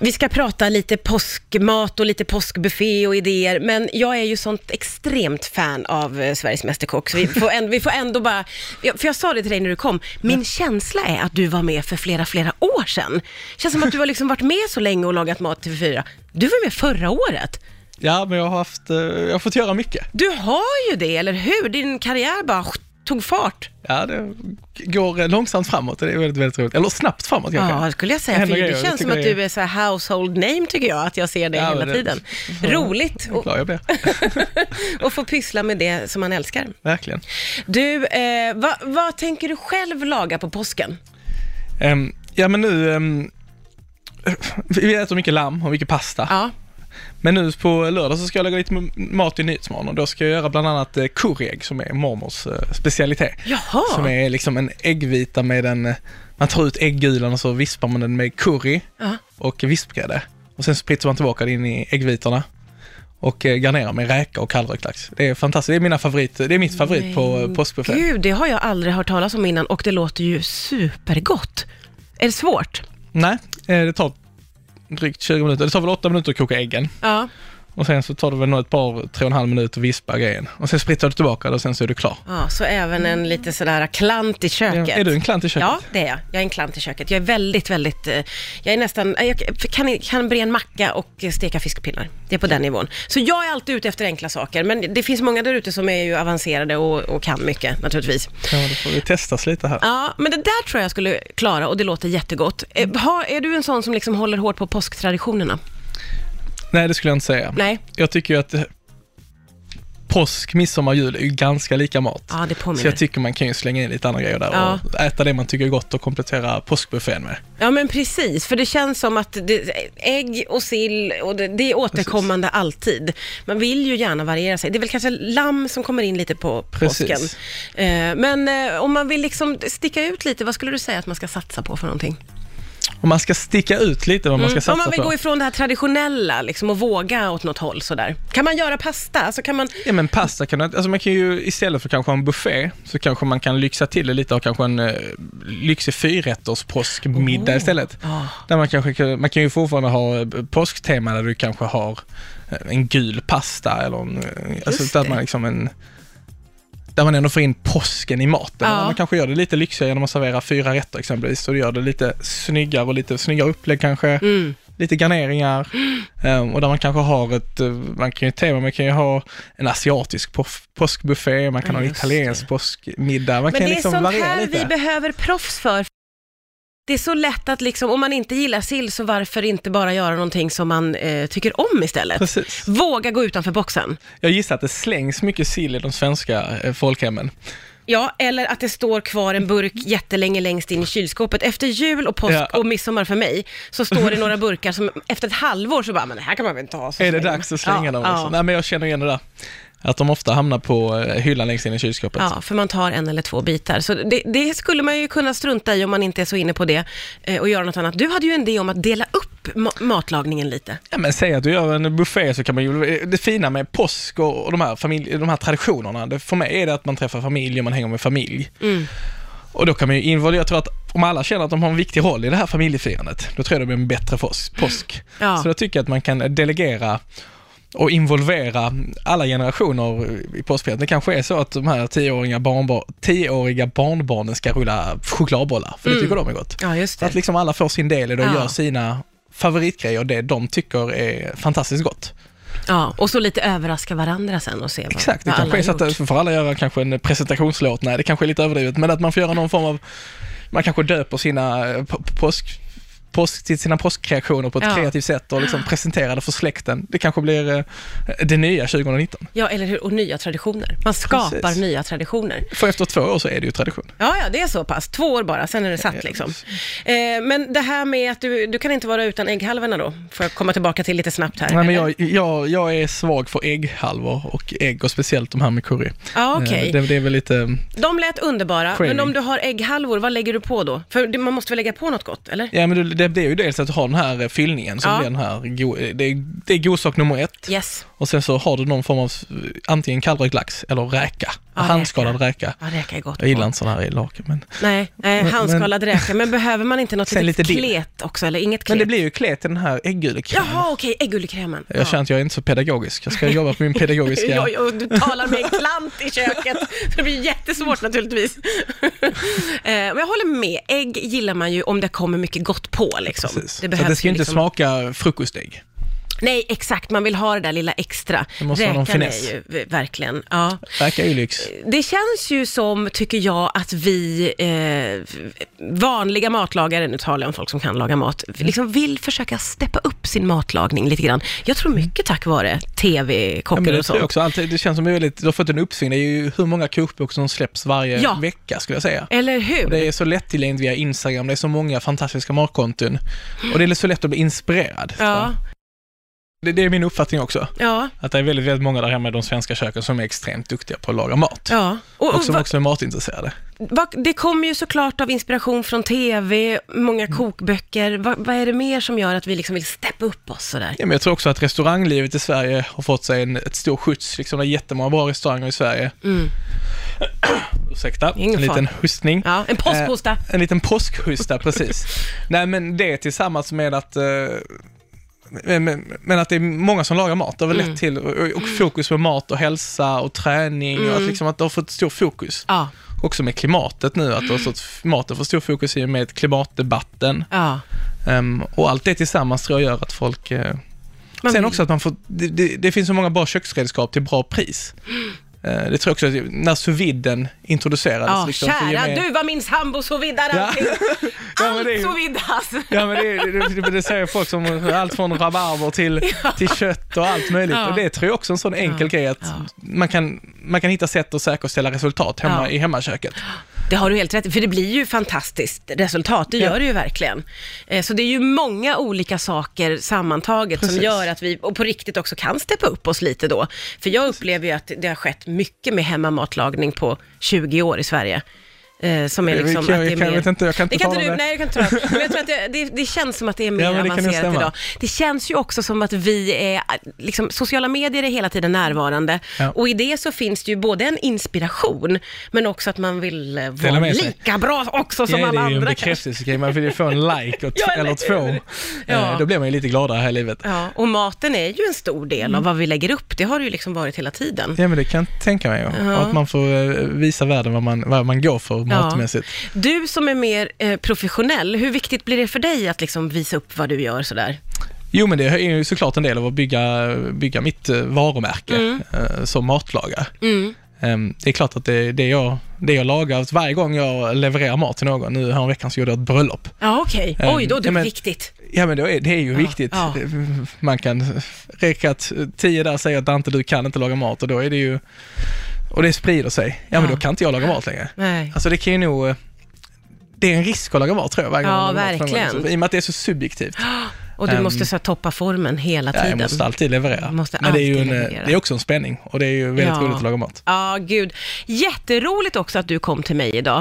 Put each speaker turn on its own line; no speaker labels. Vi ska prata lite påskmat och lite påskbuffé och idéer, men jag är ju sånt extremt fan av eh, Sveriges Mästerkock, så vi får, ändå, vi får ändå bara... ja, För jag sa det till dig när du kom, min känsla är att du var med för flera, flera år sedan. Känns som att du har liksom varit med så länge och lagat mat till TV4. Du var med förra året.
Ja, men jag har, haft, eh, jag har fått göra mycket.
Du har ju det, eller hur? Din karriär bara tog fart.
Ja, det går eh, långsamt framåt och det är väldigt, väldigt roligt. Eller snabbt framåt kanske.
Ja, skulle jag säga.
Det
För
händer grejer,
det
jag
känns som
tycker
att
det är-
du är så här household name, tycker jag, att jag ser dig
Ja,
hela
men det-
tiden. Roligt
Vad
och,
glad jag blir.
och få pyssla med det som man älskar.
Verkligen.
Du, eh, vad, vad tänker du själv laga på påsken?
Ehm, ja, men nu... ehm, vi äter mycket lamm och mycket pasta.
Ja.
Men nu på lördag så ska jag lägga lite m- mat i Nyhetsmorgon och då ska jag göra bland annat eh, koreg som är mormors eh, specialitet.
Jaha.
Som är liksom en äggvita med en... eh, Man tar ut äggulan och så vispar man den med curry
Ja.
och vispgrädde. Och sen spritzar man tillbaka det in i äggvitorna och eh, garnerar med räka och kallrökt Det är fantastiskt. Det är, mina favorit, det är mitt favorit på eh, påskbuffé.
Gud, det har jag aldrig hört talas om innan och det låter ju supergott. Är det svårt?
Nej, eh, det tar drygt 20 minuter. Det tar väl 8 minuter att koka äggen.
Ja.
Och sen så tar det väl nog ett par, tre och en halv minut att vispa grejen. Och sen spritzar du tillbaka det och sen så är du klar.
ja så även en lite sådär klant i köket.
Ja, Är du en klant i köket?
Ja, det är jag. Jag är en klant i köket. Jag är väldigt, väldigt... eh, Jag är nästan... eh, Jag kan, kan bre en macka och eh, steka fiskpinnar. Det är på den nivån. Så jag är alltid ute efter enkla saker, men det finns många där ute som är ju avancerade och, och kan mycket, naturligtvis.
Ja, då får vi testas lite här.
Ja, men det där tror jag skulle klara och det låter jättegott. Eh, Har, är du en sån som liksom håller hårt på påsktraditionerna?
Nej, det skulle jag inte säga.
Nej?
Jag tycker ju att eh, påsk, midsommar, jul är ju ganska lika mat.
Ja, det
Så jag
påminner.
tycker man kan ju slänga in lite andra grejer där
Ja.
och äta det man tycker är gott och komplettera påskbuffén med.
Ja, men precis. För det känns som att det, ägg och sill, och det, det är återkommande alltid. Man vill ju gärna variera sig. Det är väl kanske lamm som kommer in lite på
Precis.
påsken. Eh, Men eh, om man vill liksom sticka ut lite, vad skulle du säga att man ska satsa på för någonting?
Och man ska sticka ut lite vad man ska satsa
om Mm. man vill
på.
gå ifrån det här traditionella liksom, och våga åt något håll sådär. Kan man göra pasta? Så kan man...
Ja men pasta kan du, alltså man kan ju istället för kanske en buffé så kanske man kan lyxa till det lite och kanske en eh, lyxig fyrrätters påskmiddag istället.
Ah.
Där man, kanske, kan- man kan ju fortfarande ha eh, påsktema där du kanske har eh, en gul pasta eller en, eh,
Just
alltså där
det.
man liksom en där man ändå får in påsken i maten.
Ja.
Där Man kanske gör det lite lyxigare genom att servera fyra rätter exempelvis. Och det gör det lite snyggare och lite snyggare upplägg kanske
Mm.
lite garneringar eh, och där man kanske har ett, eh, man kan ju tema, man kan ju ha en asiatisk påf- påskbuffé, man kan ha en
Just
italiensk påskmiddag, man
Men
kan
det är
liksom
sånt
variera
här
lite.
vi behöver proffs för. Det är så lätt att liksom, om man inte gillar sill, så varför inte bara göra någonting som man eh, tycker om istället?
Precis.
Våga gå utanför boxen.
Jag gissar att det slängs mycket sill i de svenska eh, folkhemmen.
Ja, eller att det står kvar en burk jättelänge längst in i kylskåpet. Efter jul och påsk
Ja.
och midsommar för mig, så står det några burkar som efter ett halvår så bara, men det här kan man väl inte ha? Så
Är det
slänger
dags
man.
att slänga
ja,
dem?
Ja.
Liksom? Nej, men jag känner igen det där. Att de ofta hamnar på eh, hyllan längst in i kylskåpet.
Ja, för man tar en eller två bitar. Så det, det skulle man ju kunna strunta i om man inte är så inne på det eh, och göra något annat. Du hade ju en idé om att dela upp ma- matlagningen lite.
Ja, men säg att du gör en buffé så kan man ju, det fina med påsk och och de här, familj, de här traditionerna, det, för mig är det att man träffar familj och man hänger med familj. Och då kan man ju involvera, jag tror att om alla känner att de har en viktig roll i det här familjefirandet, då tror jag det blir en bättre fos- påsk.
Ja.
Så då tycker jag att man kan delegera och involvera alla generationer i påskfirandet. Det kanske är så att de här tioåriga, barnbar- tioåriga barnbarnen ska rulla chokladbollar, för det tycker de är gott.
Ja, just
Så att liksom alla får sin del i det och
Ja.
gör sina favoritgrejer, det de tycker är fantastiskt gott.
Ja, och så lite överraska varandra sen och se vad,
Exakt, det
vad alla
kanske är så
har gjort.
att, får alla göra kanske en presentationslåt, nej det kanske är lite överdrivet, men att man får göra någon form av, man kanske döper sina eh, på- påsk, påsk, till sina påskreaktioner på ett
Ja.
kreativt sätt och liksom presenterar det för släkten. Det kanske blir eh, det nya 2019.
Ja, eller hur? Och nya traditioner. Man skapar
Precis.
nya traditioner.
För efter två år så är det ju tradition.
Ja, ja, det är så pass. Två år bara, sen är det satt liksom. Eh, men det här med att du, du kan inte vara utan ägghalvorna då, får jag komma tillbaka till lite snabbt här.
Nej, men
eller?
jag, jag, jag är svag för ägghalvor och ägg och speciellt de här med curry.
Ja, okej.
Eh, Det, det är väl lite,
De lät underbara, men
Craving.
om du har ägghalvor, vad lägger du på då? För det- man måste väl lägga på något gott, eller?
ja men det, det det, det är ju dels att du har den här eh, fyllningen som
Ja.
blir den här, go- eh, det, är- det är godsak nummer ett
Yes.
och sen så har du någon form av eh, antingen kallrökt lax eller räka,
Ja,
handskalad räka.
Ja, räka är gott.
Jag gillar
på.
inte sådana här i laken men.
Nej, nej
Men-
handskalad räka. Men behöver man inte något
Sen
litet
lite dill.
klet också, eller inget klet?
Men det blir ju klet i den här äggulekrämen.
Jaha, okej, äggullekrämen.
Jag känner att jag är inte så pedagogisk. Jag ska jobba på min pedagogiska...
Ja, ja, du talar med en klant i köket, så det blir jättesvårt naturligtvis. Eh, Men jag håller med, ägg gillar man ju om det kommer mycket gott på. Liksom.
Precis.
Det
så
behövs
det ska ju inte
liksom...
smaka frukostägg.
Nej, exakt, man vill ha det där lilla extra.
Det måste vara någon
Räkan
finess.
är ju v- verkligen, ja.
Räka är ju lyx.
Det känns ju som, tycker jag, att vi eh, vanliga matlagare, nu talar jag om folk som kan laga mat,
Mm.
liksom vill försöka steppa upp sin matlagning lite grann. Jag tror mycket tack vare
Ja,
tv-kockar
men det
och
tror jag
sånt.
också. Alltid, det känns som det är väldigt, du har fått en uppsving. Det är ju hur många kokböcker som släpps varje
Ja.
vecka skulle jag säga.
Eller hur?
Och Det är så lättillgängligt via Instagram, det är så många fantastiska matkonton. Och det är så lätt att bli inspirerad.
Ja,
Det, det är min uppfattning också.
ja,
Att det är väldigt, väldigt många där hemma i de svenska köken som är extremt duktiga på att laga mat.
ja. Och,
Och
och,
som
va,
också är matintresserade.
va, det kommer ju såklart av inspiration från tv, många
Mm.
kokböcker. Va, vad är det mer som gör att vi liksom vill steppa upp oss sådär?
Ja, men jag tror också att restauranglivet i Sverige har fått sig en ett stor skjuts. Liksom, det är jättemånga bra restauranger i Sverige.
Mm.
Ursäkta,
Ingen
en
fara.
liten hustning.
Ja, en påskhosta.
En liten påskhosta, precis. Nej, men det tillsammans med att eh, men, men- men att det är många som lagar mat, det har väl
Mm.
lett till, och, och fokus på mat och hälsa och träning och
Mm.
att, liksom, att det har fått stor fokus.
Ja,
Också med klimatet nu, att det har fått, maten får stor fokus i och med klimatdebatten.
ja.
Ehm, och allt det tillsammans tror jag gör att folk... eh,
Man
sen
vill-
också att man får... Det, det, det finns så många bra köksredskap till bra pris. Eh, det tror jag också, att när sous viden introducerades.
Ja,
Alltså, liksom, för ju
kära
mer-
du var min sambo sous vide
Ja.
allting.
Ja, men det
Allt
är ju-
sous vide alltså.
Ja men det, det, det, det säger folk som allt från rabarber till, till kött och allt möjligt.
Ja.
Och det tror jag också är en sån enkel grej att
Ja.
man, kan, man kan hitta sätt att säkerställa resultat hemma
Ja.
i hemmaköket.
Det har du helt rätt i, för det blir ju fantastiskt resultat, det gör
Ja.
det ju verkligen. Eh, Så det är ju många olika saker sammantaget som
Precis.
gör att vi, och på riktigt också kan steppa upp oss lite då. För jag upplever ju att det har skett mycket med hemmamatlagning på 20 år i Sverige. eh, Som är
Jag-
liksom
jag-
att det är
jag kan-
mer...
jag vet inte, jag kan inte
det kan
tala
inte
om
du,
det.
Nej, jag kan inte tala om det. Men jag tror att det, det, det känns som att det är mer
Ja, men det kan nog
avancerat
stämma.
idag. Det känns ju också som att vi är, liksom, sociala medier är hela tiden närvarande
Ja.
och i det så finns det ju både en inspiration men också att man vill eh,
Dela
vara
med sig.
lika bra också som
ja, det
alla
är ju en
andra kanske.
bekräftelsegrej, man vill ju få en like och t-
Ja, eller
eller två.
hur? Ja.
Eh, Då blir man ju lite gladare här i livet.
Ja, och maten är ju en stor del av vad vi lägger upp, det har det ju liksom varit hela tiden.
Mm. Ja men det kan jag tänka mig.
Ja.
Och att man får eh, visa världen vad man, vad man går för matmässigt.
Du som är mer eh, professionell, hur viktigt blir det för dig att liksom visa upp vad du gör sådär?
Jo men det är ju såklart en del av att bygga, bygga mitt eh, varumärke
Mm.
eh, som matlagare.
Mm.
Ehm, Det är klart att det, det, jag, det jag lagar, att varje gång jag levererar mat till någon, nu häromveckan så gjorde jag ett bröllop.
Ja, okej.
Ehm,
Oj, då du,
ja, men-
viktigt.
Ja men då är, det är ju
Ja,
viktigt.
ja.
Man kan, räcka att tio där säger att Dante du kan inte laga mat och då är det ju, och det sprider sig. Ja, men
Ja.
då kan inte jag laga mat längre.
Nej.
Alltså det kan ju nog, eh, det är en risk att laga mat tror jag varje gång
Ja,
jag lagar mat för någon
verkligen.
annan. Så I och med att det är så subjektivt.
Och du
Ehm,
måste så här, toppa formen hela
Ja,
tiden.
jag måste alltid leverera.
Du Typ måste
men det är ju
alltid
en, eh,
leverera.
det är också en spänning och det är ju väldigt
Ja.
roligt att laga mat.
Ja, gud. Jätteroligt också att du kom till mig idag.